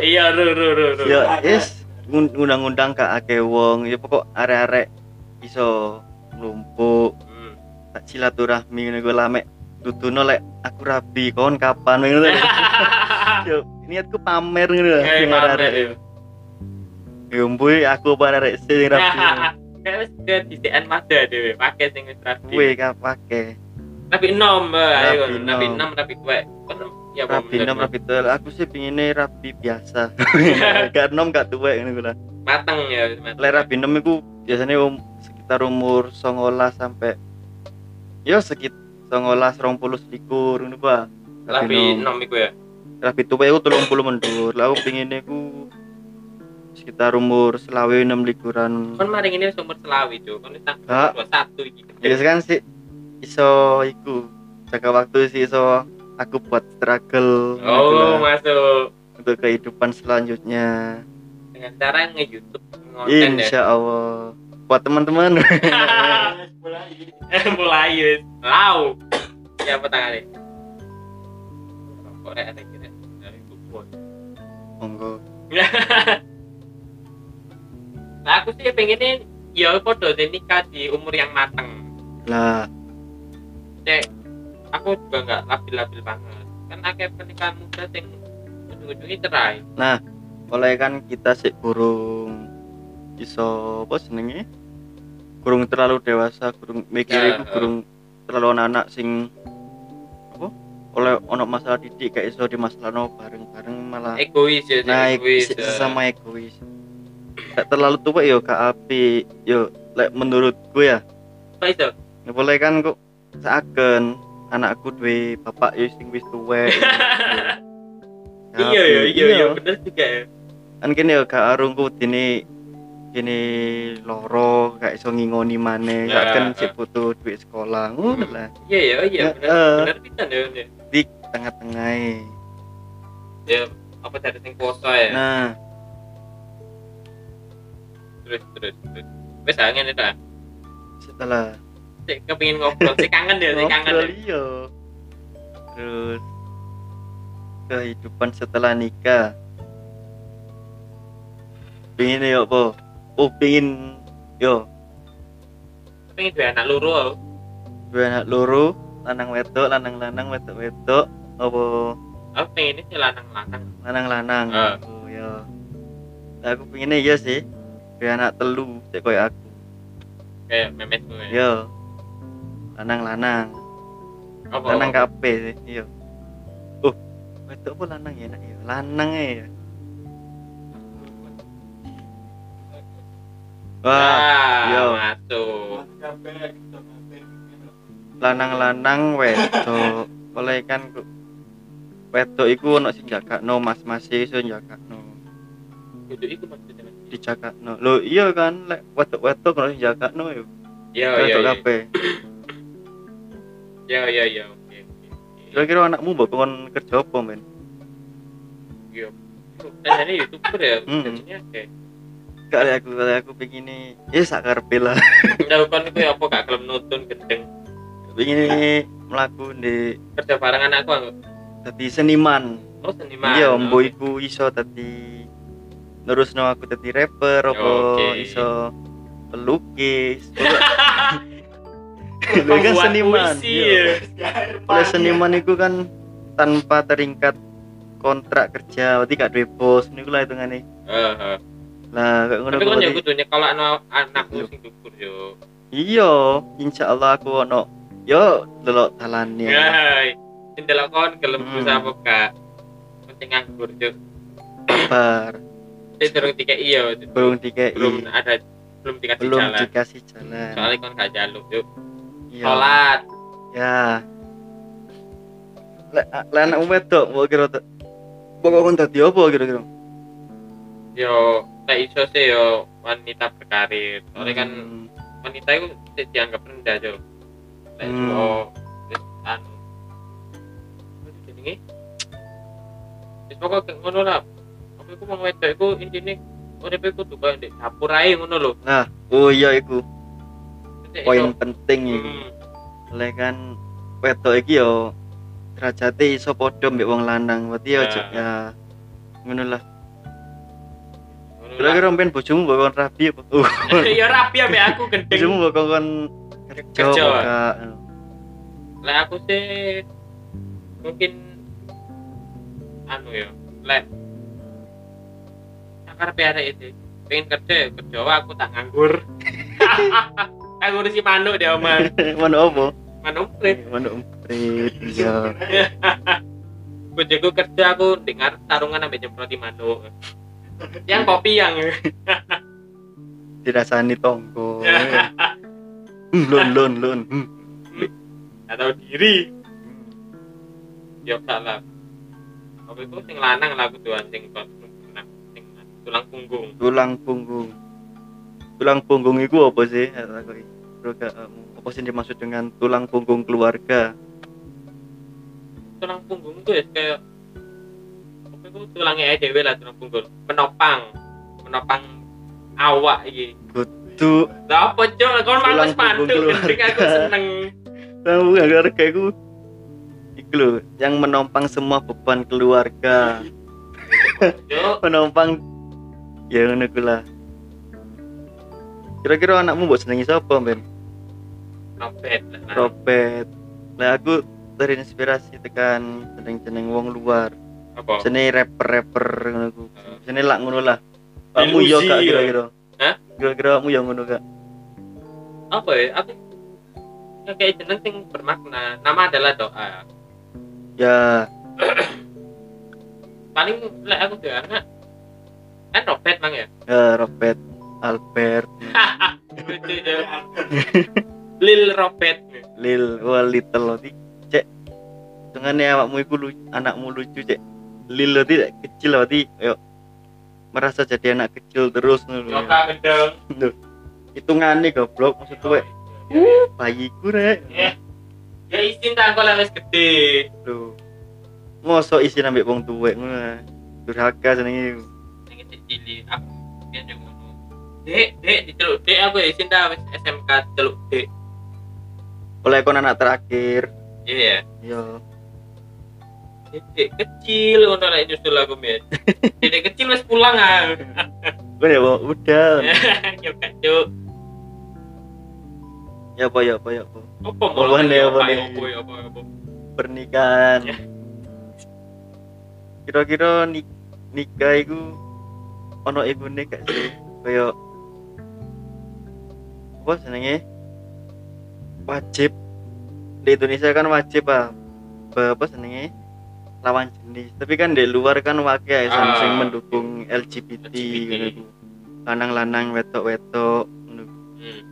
S1: Iya, ru ru ru ru.
S2: ya yes ngun- undang-undang gak akeh wong ya pokok arek-arek iso numpuk
S1: Hmm.
S2: tak silaturahmi ngono gue lamek tutuno lek aku rapi kon kapan ngono ya niatku pamer ngono lah
S1: Kayak
S2: sing
S1: pamer
S2: arek-arek
S1: ya.
S2: ya mbuh aku apa arek sing rapi
S1: Kayak wis ke disikan Mazda dhewe, pakai sing wis rapi.
S2: kue gak kan pake
S1: Rapi nom, eh, ayo
S2: Rabi
S1: kon. rapi
S2: nom.
S1: nom, rapi kue. Kon ya apa,
S2: rabi
S1: bener, Oh,
S2: enam
S1: bener.
S2: rabi tel aku sih pinginnya rabi biasa
S1: iya.
S2: gak enam gak tua ini gue lah
S1: mateng ya. mateng.
S2: Lek rabi enam itu biasanya um, sekitar umur songolas sampai ya sekitar songolas rong puluh selikur ini gua
S1: Rapi nom iku ya.
S2: rabi tua itu tolong puluh mendur lah aku pinginnya ku sekitar umur selawe enam likuran
S1: kon maring ini sumber selawi cuy kon ini tanggal
S2: Ah.
S1: 21 iki
S2: biasa kan sih iso iku jaga waktu sih iso aku buat struggle ngono iku
S1: oh
S2: lah,
S1: masuk
S2: untuk kehidupan selanjutnya
S1: dengan cara nge YouTube konten ya
S2: Insya Allah buat teman-teman
S3: Mulai.
S1: mulai wis lau siapa tangannya kok rek ada kira Nah, iku kuat.
S2: monggo
S1: nah aku sih pengennya ya podo deh nikah di umur yang mateng
S2: lah
S1: aku juga nggak labil-labil banget kan akhir pernikahan muda sing ujung-ujungnya cerai
S2: Nah. oleh kan kita sih kurung iso apa senengnya kurung terlalu dewasa kurung mikir iku
S1: Ya, eh.
S2: kurung terlalu anak-anak sing apa oleh ono masalah didik kayak iso di masalah bareng-bareng malah
S1: egois ya sing
S2: naik
S1: egois ya.
S2: sama egois gak terlalu tua yo gak api yo lek menurut gue ya
S1: apa itu
S2: Ya boleh kan kok seakan anakku duwe bapak yo sing wis tuwek.
S1: iya ya iya iya bener juga ya
S2: Kan kene yo gak arung ku dene kene loro gak iso ngingoni maneh gak
S1: Ya,
S2: kan
S1: eh.
S2: sik butuh duit sekolah ngono lah
S1: iya ya iya
S2: Ya,
S1: benar
S2: eh.
S1: benar pisan ya Yun, ya.
S2: di tengah-tengah e.
S1: ya apa cari sing kuasa ya
S2: nah
S1: terus terus terus wes angin itu ah
S2: setelah
S1: sik kepengin ngobrol sik kangen ya sik kangen ya.
S2: ngobrol iya terus kehidupan setelah nikah pingin yo po oh pingin yo
S1: kepengin dua anak loro aku.
S2: dua anak loro lanang wedok lanang lanang wedok wedok apa
S1: aku pengen ini lanang lanang
S2: lanang lanang
S1: Ah.
S2: oh ya aku pinginnya iya sih dua anak telu cek koyo aku
S1: kayak memet gue ya
S2: yo lanang lanang
S1: apa
S2: lanang
S1: apa?
S2: kabeh sih iya oh wedok apa lanang ya enak ya lanang ya wah
S1: Wah,
S2: Yo.
S1: Nah, masuk.
S2: lanang-lanang wedok oleh kan ku- wedok iku ono sing jagakno mas-mas e iso jagakno
S1: Kudu iku maksudnya.
S2: dijagatno lho iya kan lek wedok-wedok ono sing jagakno yo
S1: Oh, Yo yo.
S2: wedok
S1: yo.
S2: kabeh
S1: Yo yo yo. Iya, Oke. oke, oke.
S2: kira-kira anakmu mbok kon kerja apa men
S1: Yo. Tanya youtuber ya,
S2: Hmm.
S1: jadinya kayak
S2: gak lek aku lek aku pengine ya sak karepe lah
S1: Nah, kan itu apa gak kelem nutun gendeng
S2: pengine mlaku di
S1: kerja bareng anakku aku.
S2: dadi seniman
S1: Oh seniman.
S2: iya
S1: oke.
S2: mbo iku iso dadi nerusno aku dadi rapper apa
S1: Ya, Oke.
S2: iso pelukis Lu kan
S1: Pembuat
S2: seniman
S1: puisi,
S2: iya.
S1: ya.
S2: oleh seniman itu kan tanpa terikat kontrak kerja berarti gak duwe bos niku lah hitungane
S1: Eh, eh.
S2: lah kayak Nah, ngono
S1: Tapi
S2: ku
S1: kan ya
S2: berarti-
S1: kudunya kalau anak anakku
S2: Yo.
S1: sing dukur yo.
S2: iya insyaallah aku ono yo delok dalane
S1: Ya. Guys, sing delok kon gelem
S2: Iya. Hmm.
S1: berusaha apa gak? Penting nganggur yo.
S2: kabar
S1: Sing durung dikeki yo.
S2: belum dikei
S1: Belum ada belum dikasih
S2: Iya. belum
S1: jalan.
S2: dikasih jalan
S1: Soalnya kon gak jaluk yo.
S2: Iya.
S1: Sholat.
S2: ya lek lek anak wedok mbok kira tuh pokok kon dadi apa kira-kira
S1: Yo, tak iso sih yo wanita berkarir. Soalnya kan
S2: Hmm.
S1: wanita itu di- dianggap rendah jo Lek
S2: Hmm.
S1: yo wis anu apa itu jenenge wis pokok kayak ngono lah apa iku wong wedok iku intine uripe kudu koyo ndek dapur ae ngono lho
S2: nah oh iya iku
S1: Dadi
S2: poin
S1: iso-
S2: penting iku
S1: Hmm,
S2: oleh kan wedok iki yo derajate iso padha mbek wong lanang berarti yo
S1: Ya.
S2: ya ngono lah
S1: ngono
S2: kira-kira mpen bojomu mbok kon rabi apa uh,
S1: lah. ya rapi ame aku
S2: bojomu
S1: gendeng
S2: mbok kon kon kerja
S1: Kerja.
S2: apa gak?
S1: lek aku sih mungkin anu ya Nah, lek akar arek itu pengen kerja ya kerja wae, aku tak nganggur tak ngurusi manuk dia omah
S2: mana apa
S1: manuk kulit
S2: mana umprit iya
S1: bojoku kerja aku dengar tarungan sampai nyemproti manuk yang kopi yang
S2: dirasani tonggo Hmm, lon lon lon Hmm.
S1: atau diri ya salah apa itu sing lanang lah aku tuan sing kon- sing tulang punggung
S2: tulang punggung tulang punggung itu apa sih Ya, takoki. Bro, gak, em, um, apa sih yang dimaksud dengan tulang punggung keluarga
S1: tulang punggung itu ya kayak apa itu tulangnya aja dhewe lah tulang punggung penopang penopang awak iki
S2: tuh
S1: lah apa cok kon
S2: Tulang
S1: mantus manduk
S2: punggung
S1: gendeng aku
S2: keluarga.
S1: seneng
S2: tahu gak keluarga itu Iku lho, yang menompang semua beban keluarga
S1: cok
S2: menompang ya ngono ku lah kira-kira anakmu buat senengi siapa men
S1: robet lah nah.
S2: Robert nah aku terinspirasi tekan jeneng-jeneng wong luar
S1: apa
S2: jenenge rapper-rapper ngono ku. Jenenge lak ngono lah.
S1: Lil
S2: Kamu yo
S1: Uzi
S2: gak
S1: ya.
S2: kira-kira.
S1: Hah?
S2: Kira-kira kamu yo ngono gak?
S1: apa ya aku ya kayak jeneng sing bermakna nama adalah doa
S2: Ya,
S1: paling lek aku dhewe anak kan robet mang ya
S2: ya Robert Albert
S1: Lucu, Cok. lil robet
S2: Lil wah Little Loti cek dengan awakmu iku lu, anakmu lucu cek Lil Loti kecil Loti yo merasa jadi anak kecil terus ngono
S1: Nyoka gendeng.
S2: hitungane goblok maksud kowe bayiku rek
S1: Ya. Ya izin tak kalau wis gede.
S2: lho mosok isi ambek wong tuwek ngono lah. durhaka jenenge
S1: Ini cilik. Aku dia yang ngono. Dek, dek, diceluk dek aku ya izin tak wis SMK celuk dek.
S2: oleh kon anak terakhir
S1: Iya ya.
S2: yo
S1: Dek kecil ngono lek nyusul aku men. Dek kecil wis pulang ah.
S2: udah Bo. udah
S1: Ya gak cuk.
S2: ya apa ya apa ya apa
S1: Apa
S2: Apa nih, apa nih?
S1: Apa ya, apa apa.
S2: pernikahan
S1: Ya.
S2: kira-kira ni- nikah iku ono ibune gak sih kaya apa jenenge wajib di Indonesia kan wajib ah Ba- apa jenenge lawan jenis tapi kan di luar kan wakil
S1: Ah.
S2: sing mendukung LGBT,
S1: LGBT.
S2: ngono iku. gitu. lanang-lanang wetok-wetok ngono iku.
S1: Hmm.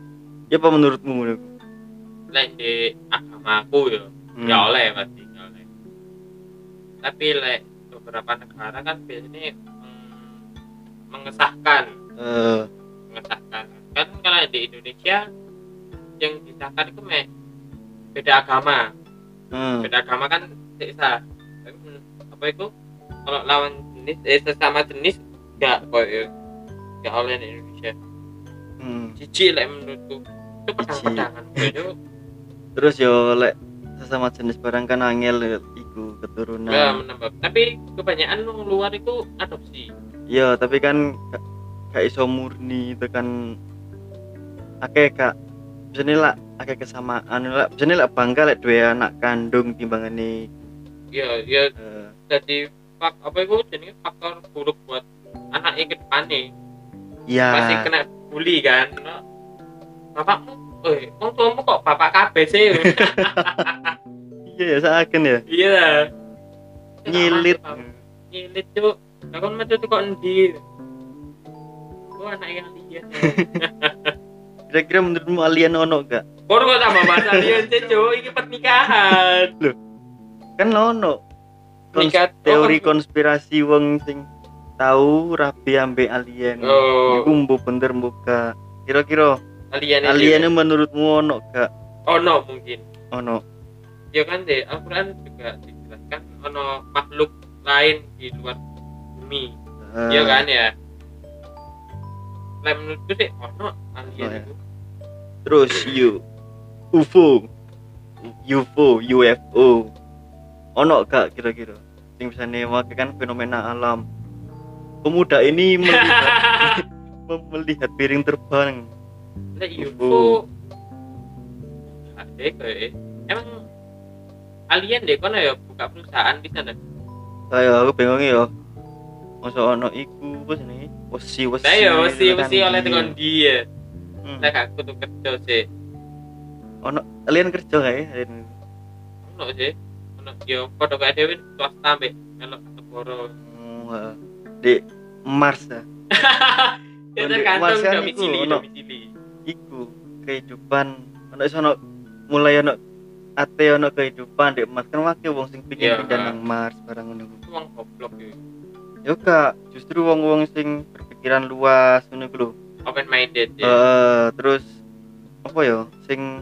S2: ya apa menurutmu ngono iku?
S1: Lek di agamaku ya.
S2: Hmm.
S1: ya oleh pasti ya oleh tapi like beberapa negara kan biasanya mm, mengesahkan
S2: Eh,
S1: mengesahkan kan kalau di Indonesia yang disahkan itu meh beda agama
S2: hmm.
S1: beda agama kan bisa apa itu kalau lawan jenis eh, sesama jenis enggak kok ya enggak oleh di Indonesia
S2: hmm.
S1: jijik lah menurutku itu pedang-pedangan itu
S2: terus yo lek sesama jenis barang kan angel iku keturunan
S1: enggak menambah tapi kebanyakan orang luar itu adopsi
S2: iya tapi kan gak, gak iso murni itu kan akeh kak biasanya lah akeh kesamaan lah biasanya lah bangga lek dua anak kandung timbangane
S1: ya ya
S2: eh,
S1: jadi fak apa itu jadi faktor buruk buat anak ke depannya pasti
S2: iya
S1: kena bully kan No. bapakmu eh wong tuamu kok bapak kabeh sih
S2: iya ya saken ya
S1: iya
S2: nyilit
S1: nyilit cuk Lah kon metu tuh kok endi Ku anak yang alien
S2: kira-kira menurutmu alien ono gak
S1: Kon kok tambah bahasa alien sih cuk ini pernikahan
S2: kan ono Kons-
S1: Nikah-
S2: teori
S1: oh, kon-
S2: konspirasi wong sing tahu rabi ambek alien
S1: Oh,
S2: iku mbok bener mbok gak kira-kira
S1: alien
S2: aliennya menurutmu ono gak
S1: Oh no mungkin
S2: ono
S1: ya kan deh Al-Quran juga dijelaskan ono makhluk lain di luar bumi
S2: eh,
S1: ya kan ya lah menurutku sih ono
S2: Oh, ya.
S1: alien itu
S2: terus you UFO UFO UFO ono gak kira-kira yang bisa mewakilkan fenomena alam pemuda ini melihat, mem- melihat piring terbang
S1: lah
S2: UFO.
S1: UFO ada kayak emang alien deh kono ya buka perusahaan di sana
S2: kayak aku bingung ya masa ono iku apa jenenge wesi wesi
S1: lah ya mesti
S2: gitu kan.
S1: mesti oleh tekan dia
S2: Hmm.
S1: lah gak kudu kerja sih
S2: alien kerja gak ya alien
S1: ono sih ono ya padha kayak dewe swasta mbek kalau negara
S2: Oh, eh, di Mars ya
S1: ya
S2: Di
S1: tergantung
S2: Marsian iku
S1: domisili
S2: ono.
S1: domisili
S2: iku kehidupan ono iso ono mulai ono ate ono kehidupan di Mars kan wakil wong sing
S1: Iya,
S2: pingin pindah
S1: ha.
S2: nang Mars barang ngono iku.
S1: itu wong goblok ya
S2: Yo Kak, justru wong-wong sing berpikiran luas ngono iku lho.
S1: open minded
S2: Eh,
S1: ya
S2: terus apa ya sing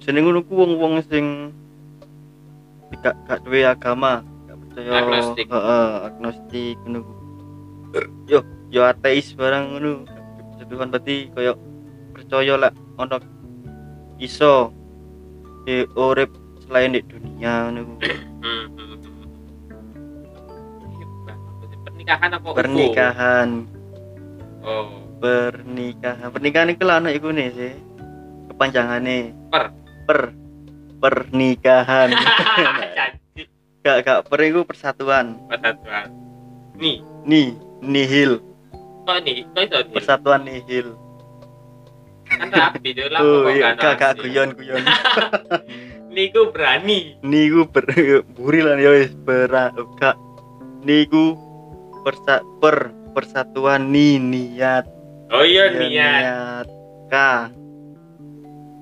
S2: jeneng ngono ku wong-wong sing gak gak duwe agama, gak percaya
S1: Agnostik.
S2: Heeh, agnostik ngono ku. Yo, yo ateis barang ngono. Tuhan berarti koyo percaya lah ono iso di urip selain di dunia ngono ku.
S1: Hmm, hmm, hmm. Iya, Bang. pernikahan apa UFO?
S2: Pernikahan,
S1: oh
S2: pernikahan. Pernikahan iku lah ono iku nih sih. Kepanjangane
S1: Per.
S2: per pernikahan.
S1: janji
S2: gak gak per iku persatuan.
S1: persatuan nih
S2: Ni nihil,
S1: kok nih kok itu nih
S2: persatuan nihil.
S1: kan rapi tuh lah
S2: Oh
S1: kok
S2: iya,
S1: kan
S2: gak gak
S1: rapi.
S2: guyon guyon.
S1: niku berani
S2: niku ber burilan ya wis pera gak niku persa per persatuan ni niat
S1: oh iya
S2: Ya,
S1: niat
S2: K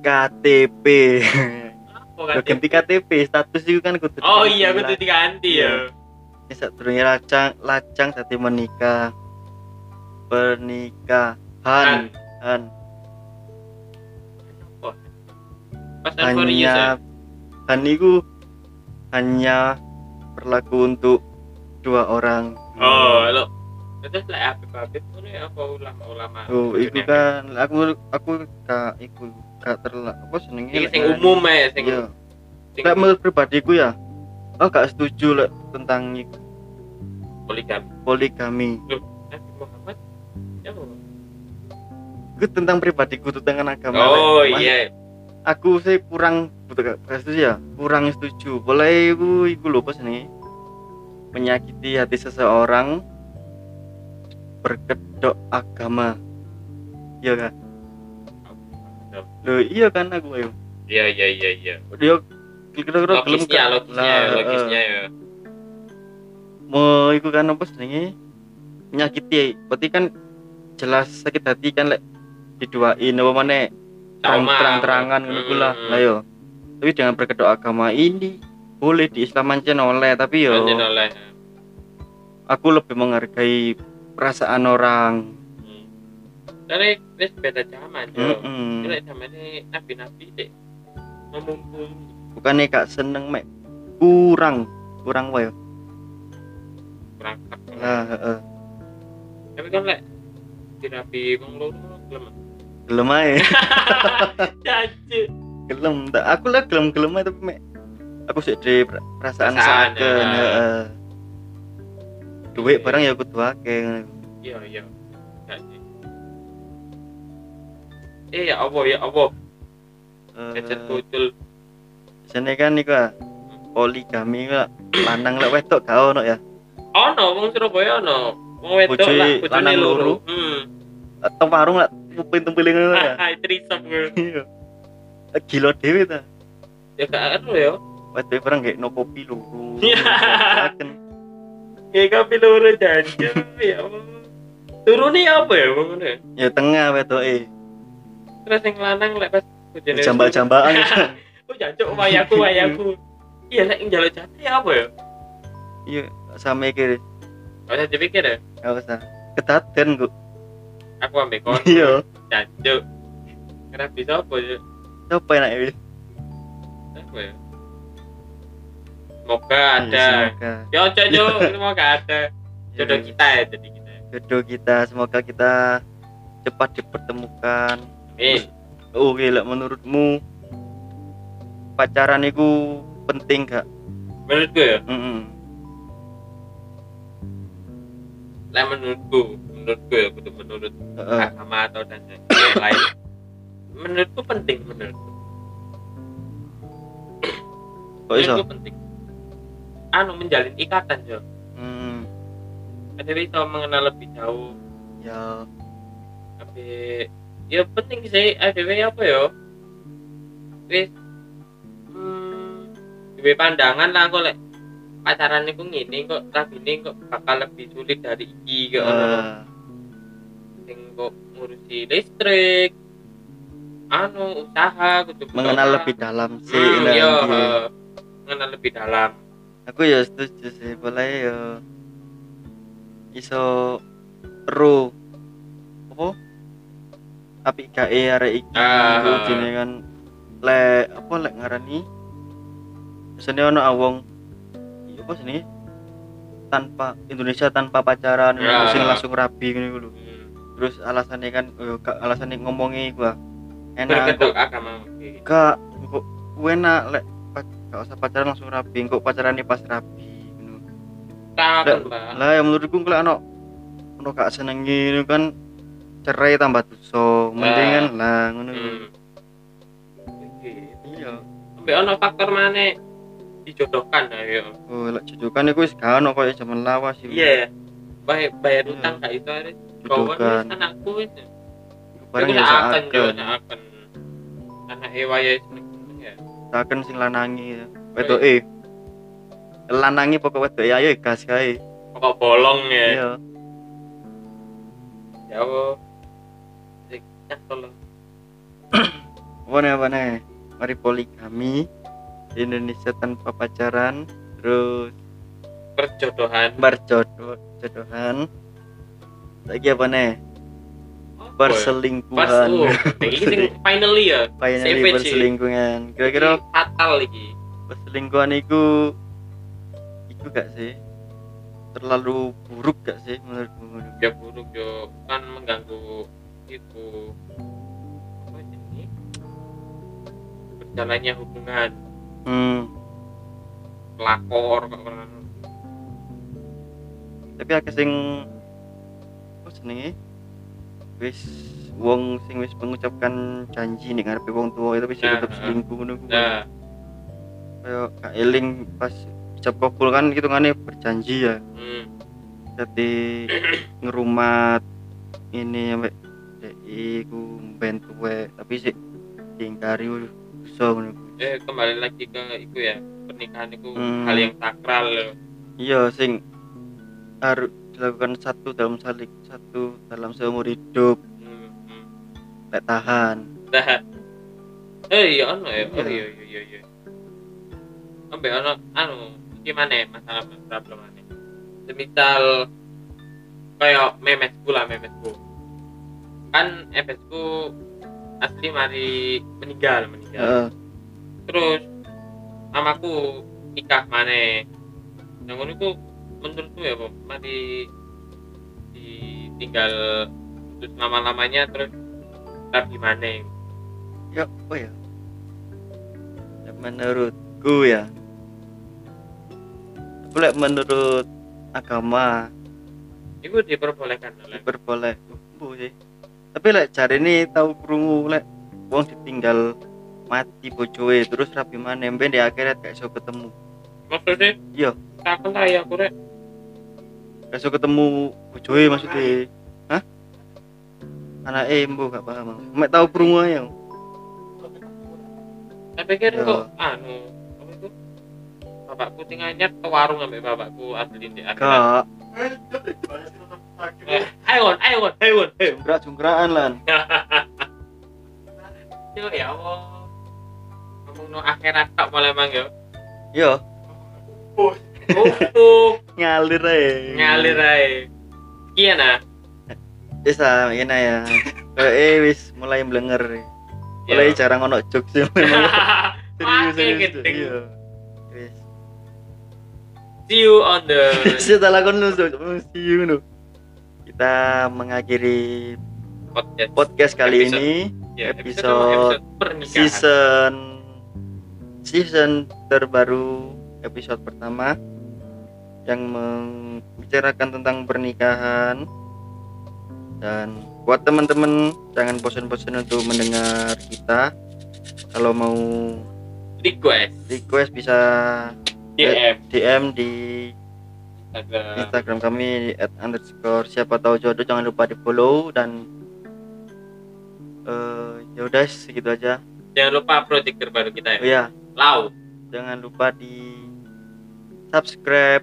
S2: KTP
S1: Apa
S2: Loh,
S1: kan?
S2: ganti KTP status itu kan kudu
S1: oh
S2: diganti
S1: iya aku
S2: lah.
S1: tuh diganti ya
S2: Ini sadurunge lacang lacang dadi menikah
S1: Kan.
S2: pernikahan han
S1: Oh. Pas Kan for you
S2: hanya han iku hanya berlaku untuk dua orang
S1: Oh, lo. Terus lah apa apa itu nih apa ulama-ulama.
S2: Oh, itu
S1: Dunia.
S2: kan aku aku gak iku gak terlalu apa senengnya kan?
S1: Ini sing umum ya, sing
S2: Iya.
S1: sing
S2: Lek menurut pribadiku ya, aku gak setuju lek tentang iku,
S1: poligami.
S2: poligami.
S1: Nabi Eh, Muhammad. ya, Muhammad.
S2: Itu tentang pribadiku tentang agama. Lek.
S1: Oh
S2: Mas,
S1: iya,
S2: Aku sih kurang betul gak setuju ya, kurang setuju. Boleh iku iku lho apa senenge? Menyakiti hati seseorang berkedok agama. Iya kan? Loh, iya kan aku ayo.
S1: iya iya iya iya.
S2: Dia kira-kira gelem
S1: Logisnya,
S2: gak?
S1: logisnya,
S2: Lah, eh,
S1: logisnya ya.
S2: mau iku kan apa senenge menyakiti berarti kan jelas sakit hati kan lek diduain apa maneh terang
S1: Trauma.
S2: terang terangan ngono iku lah
S1: Hmm.
S2: lah yo tapi jangan berkedok agama ini boleh di Islam aja oleh tapi yo
S1: Lanjut Kan oleh.
S2: aku lebih menghargai perasaan orang
S1: Hmm. Karena ini beda zaman ya.
S2: Mm-mm.
S1: Ini zaman ini nabi-nabi deh memumpung
S2: bukannya gak seneng mek kurang kurang wae
S1: perangkap.
S2: lah heeh
S1: Tapi kan lek di nabi wong loro gelem.
S2: gelem ae
S1: Caci.
S2: gelem tak aku lah gelem gelem ae tapi mek aku sih di per- perasaan
S1: Perasaan,
S2: saken
S1: ya.
S2: heeh duit barang ya kudu akeh ngono.
S1: Iya iya. Caci. Eh ya Allah ya Allah,
S2: Eh,
S1: cacet kucul.
S2: Jenenge kan iku ah, poligami iku lah. lanang lek wedok gak ono ya.
S1: Ono wong Surabaya ono. Wong wedok
S2: Bojoe
S1: lah bojone
S2: lanang
S1: loro.
S2: loro.
S1: Hmm.
S2: Atau warung lek tumpil-tumpil ngono ya.
S1: Ah, trisep gue.
S2: Iya. Eh, Gila dhewe ta.
S1: Ya gak ero ya.
S2: Wedok barang gak no kopi lho.
S1: Iya. Ya kopi loro janji ya Allah. Turune apa ya wong ngono ya?
S2: Ya tengah wedoke.
S1: Terus yang lanang lek pas bojone
S2: Jambak-jambakan.
S1: Oh jancuk wayaku wayaku. Iya lek njaluk jati apa ya?
S2: Iya, gak usah mikir.
S1: Gak usah dipikir ya.
S2: Gak usah. Kedaten kok.
S1: Aku ambek kon.
S2: Iya.
S1: Jancuk. Kenapa bisa apa ya?
S2: Coba enak iki.
S1: Apa ya? Semoga ada.
S2: Iya, Semoga Iya,
S1: Ya ojo Cuk. semoga ada. Jodoh kita ya jadi kita.
S2: jodoh kita semoga kita cepat dipertemukan
S1: Amin.
S2: oke lah menurutmu pacaran itu penting gak?
S1: Menurutku ya,
S2: Mm-mm.
S1: lah menurutku, menurutku ya, butuh menurut
S2: Heeh.
S1: agama atau dan yang lain. Menurutku penting, menurutku.
S2: kok iso?
S1: Menurutku penting. Anu menjalin ikatan Jo.
S2: Hmm,
S1: Ada bisa mengenal lebih jauh
S2: ya
S1: Ape ya penting sih ADW apa ya? Wis hmm, duwe pandangan lah kok lek pacaran niku ngene kok rabine kok bakal lebih sulit dari iki kok ono
S2: eh,
S1: sing kok ngurusi listrik anu usaha kudu buka
S2: mengenal
S1: usaha.
S2: lebih dalam sih
S1: Iya. hmm,
S2: nah,
S1: iya,
S2: iya.
S1: eh, mengenal lebih dalam
S2: aku ya setuju sih boleh ya iso ro apa api gae arek iki
S1: Ah.
S2: iku jenenge kan le apa lek ngarani biasanya ono awong iya apa sini tanpa Indonesia tanpa pacaran
S1: Ya.
S2: terus langsung rabi ngene iku lho.
S1: hmm.
S2: terus alasannya kan eh, gak- alasannya ngomongnya gua enak
S1: berkedok
S2: kok
S1: agama oke.
S2: gak kok ku enak lek pac- gak usah pacaran langsung rabi kok pacarannya pas rabi ngono.
S1: tak
S2: Lek-
S1: mbak
S2: lah yang menurutku kalau anak ono gak senengi itu kan cerai tambah dosa mendingan lah ngono
S1: hmm. Oke.
S2: iya
S1: Sampai ono faktor mana dijodohkan lah ya.
S2: oh lek jujukan iku wis gak ono koyo jaman lawas iku.
S1: Iya ya. Bayar, bayar
S2: Iya.
S1: utang kayak itu ada kawan
S2: jujukan
S1: anakku itu.
S2: barang
S1: Aku
S2: ya
S1: tak akan yo,
S2: saken
S1: tak akan. Anak Ewa ya seneng-seneng ya.
S2: saken sing lanangi ya.
S1: Oh, iya.
S2: wedoke lanangi pokok wedoke ayo gas kae
S1: Pokok bolong ya.
S2: iya
S1: Ya Allah. Sik, Nah, tolong.
S2: wane wane mari poligami di Indonesia tanpa pacaran terus
S1: Perjodohan.
S2: berjodoh jodohan lagi apa nih
S1: Apa ya? Pers- oh,
S2: perselingkuhan
S1: kayak ini sing finally ya
S2: finally
S1: CPC.
S2: perselingkuhan kira-kira
S1: Ini fatal lagi
S2: perselingkuhan itu itu gak sih terlalu buruk gak sih menurutmu
S1: ya buruk yo kan mengganggu itu apa ini berjalannya hubungan
S2: hmm,
S1: pelakor kok orang
S2: tapi aku sing apa senenge wis wong sing wis mengucapkan janji nih ngarepe wong tua itu bisa
S1: Nah,
S2: tetap
S1: nah.
S2: selingkuh ngono ku
S1: nah
S2: kayak gak eling pas ucap kabul kan hitungannya berjanji ya
S1: hmm,
S2: jadi ngerumat ini sampai dei ku ben tuwe tapi sih diingkari so
S1: eh kembali lagi ke itu ya pernikahan itu
S2: Hmm.
S1: hal yang sakral loh
S2: iya sing harus dilakukan satu dalam salik satu dalam seumur hidup
S1: hmm, hmm.
S2: tak tahan
S1: Nah. eh iya ono ya oh
S2: Iya.
S1: iya iya iya iya sampai ono anu gimana ya masalah problem ane semisal kayak memesku lah memesku kan efekku asli mari meninggal meninggal
S2: Heeh.
S1: terus mamaku nikah mana yang ngono iku menurutku ya Bob, mari ditinggal terus lama-lamanya terus tetap di mana
S2: ya apa ya Ya, menurutku ya boleh menurut agama
S1: Iku diperbolehkan oleh
S2: diperboleh Bu, sih ya. tapi lek cari ini tahu krungu lek wong ditinggal mati bojoe terus rapi mana ben di akhirat gak iso ketemu
S1: maksudnya
S2: Iya.
S1: takon lah ya aku rek
S2: gak iso ketemu bojoe maksudnya hah anak eh mbo gak paham aku. mek tahu krungu ae aku.
S1: saya pikir
S2: Iya.
S1: kok anu apa itu bapakku tinggalnya ke warung sampai bapakku asli di akhirat
S2: gak
S1: eh ayon ayon ayon ayon
S2: jungkrak jungkrakan lan
S1: Yo, ya allah ngomong no akhirat tak mulai manggil
S2: yo
S1: untuk
S2: ngalir ae
S1: ngalir aja iya nah
S2: Wis ah, ngene ya. Kayake wis mulai mblenger. Mulai
S1: Yo.
S2: jarang ono jokes sih. Serius
S1: Makin
S2: serius.
S1: gedeng.
S2: Iya. Wis.
S1: see you on the
S2: Saya tak lakon nu so, see you nu. Kita mengakhiri
S1: podcast
S2: podcast kali
S1: Episode.
S2: ini
S1: ya,
S2: episode-
S1: episode pernikahan
S2: season season terbaru episode pertama yang membicarakan tentang pernikahan dan buat teman-teman jangan bosan-bosan untuk mendengar kita kalau mau
S1: request
S2: request bisa
S1: DM
S2: DM di
S1: Instagram
S2: Instagram kami at underscore siapa tahu jodoh jangan lupa di follow dan eh ya udah segitu aja
S1: jangan lupa project terbaru kita ya
S2: oh ya
S1: Lau
S2: jangan lupa di subscribe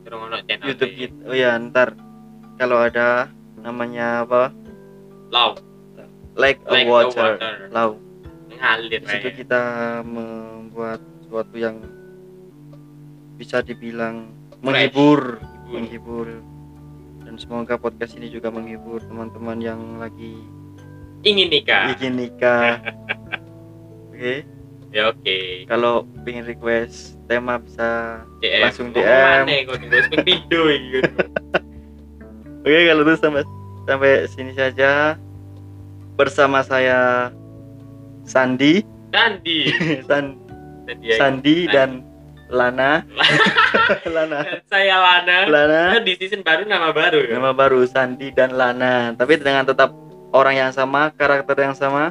S1: Terus ono channel
S2: YouTube
S1: di
S2: kita oh ya ntar kalau ada namanya apa
S1: Lau
S2: like a
S1: Like a
S2: water,
S1: water.
S2: Lau.
S1: ngalir eh.
S2: Di
S1: aja.
S2: situ gitu. kita membuat sesuatu yang bisa dibilang menghibur menghibur dan semoga podcast ini juga menghibur teman-teman yang lagi
S1: ingin nikah
S2: bikin nikah oke
S1: ya oke
S2: kalau pengen request tema bisa
S1: DM
S2: Langsung
S1: Ngomong
S2: DM.
S1: mana kok nih gue sempet tidur gitu
S2: oke kalau itu sampai sampai sini saja bersama saya Sandi
S1: Sandi ya.
S2: San- Iya,
S1: Sandi
S2: Sandi dan Lana Lana
S1: saya Lana
S2: Lana
S1: Nah, di season baru nama baru ya
S2: nama baru Sandi dan Lana tapi dengan tetap orang yang sama karakter yang sama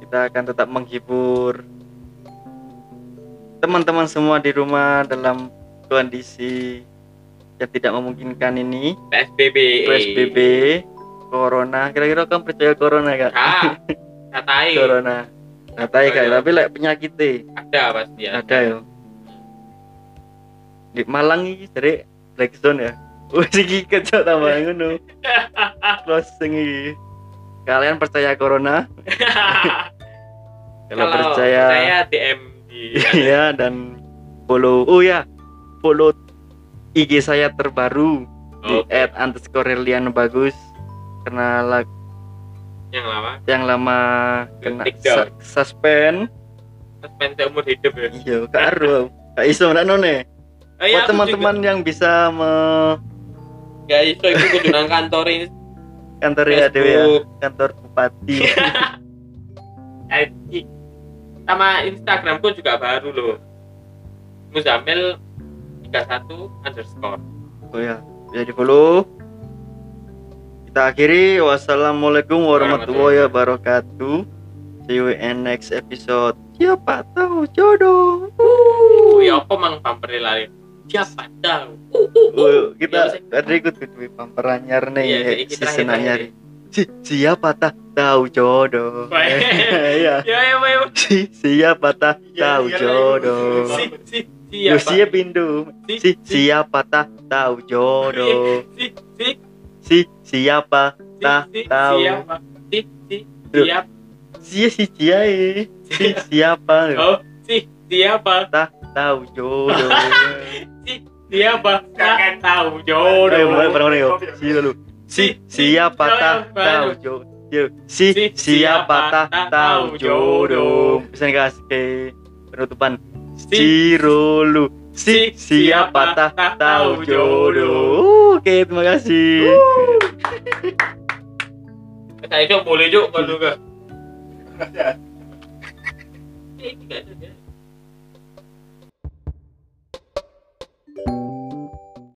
S2: kita akan tetap menghibur teman-teman semua di rumah dalam kondisi yang tidak memungkinkan ini
S1: PSBB
S2: PSBB Corona kira-kira kamu percaya Corona gak?
S1: Kak katai
S2: Corona katanya kayak tapi like penyakitnya
S1: ada pasti ya
S2: ada ya di Malang ini dari Black Zone ya wih ini kecil tambah ngono closing ini kalian percaya corona kalau, percaya
S1: saya DM di
S2: iya dan follow oh ya follow IG saya terbaru di
S1: Oke.
S2: at underscore Relian bagus karena lag
S1: yang lama
S2: yang lama kena
S1: Take down.
S2: sa- suspend
S1: suspend seumur hidup ya
S2: iya gak aru gak iso menakno nih
S1: Eh,
S2: buat
S1: aku
S2: teman-teman yang bisa me
S1: juga gak iso itu kudu nang kantor ini
S2: kantor ya Dewi ya
S1: Facebook
S2: kantor bupati
S1: IG. Eh, sama Instagramku juga baru loh Muzamil 31 underscore
S2: oh ya bisa di follow kita akhiri wassalamualaikum warahmatullahi wabarakatuh see you in next episode siapa tahu jodoh
S1: uh, ya apa mang pamperin lari siapa tahu uh, uh,
S2: Oh,
S1: uh.
S2: kita tadi ikut duit pamper anyar
S1: Iya,
S2: nih
S1: iki
S2: season anyar
S1: terakhir-terakhir.
S2: si siapa tak tahu jodoh
S1: Baik.
S2: ya
S1: ya ya ya
S2: si siapa tak tahu
S3: Iya, iya, iya.
S2: jodoh
S1: si si si
S2: Yo
S1: apa?
S2: siap Indo.
S1: si
S2: Si siapa tak tahu jodoh.
S1: si si
S2: Si siapa
S1: si
S2: tak
S1: si
S2: tahu.
S1: siapa si si
S2: Duh.
S1: siap
S2: Si si ciai. Si siapa
S1: oh si siapa
S2: tahu jodoh.
S1: siapa Nah. tak
S3: Kakak.
S1: tahu
S2: Ayo,
S1: jodoh
S2: mulai bareng-bareng yo. Si ya. dulu. Si siapa tak tahu jodoh. Yo, ya. Si siapa tak tahu jodoh. Bisa nih guys ke penutupan. Cirolu. Si siapa tak tahu jodoh. Uh. Oke, terima kasih.
S1: Iya. Saya cok ya. boleh cok kalau enggak. Ini enggak ada.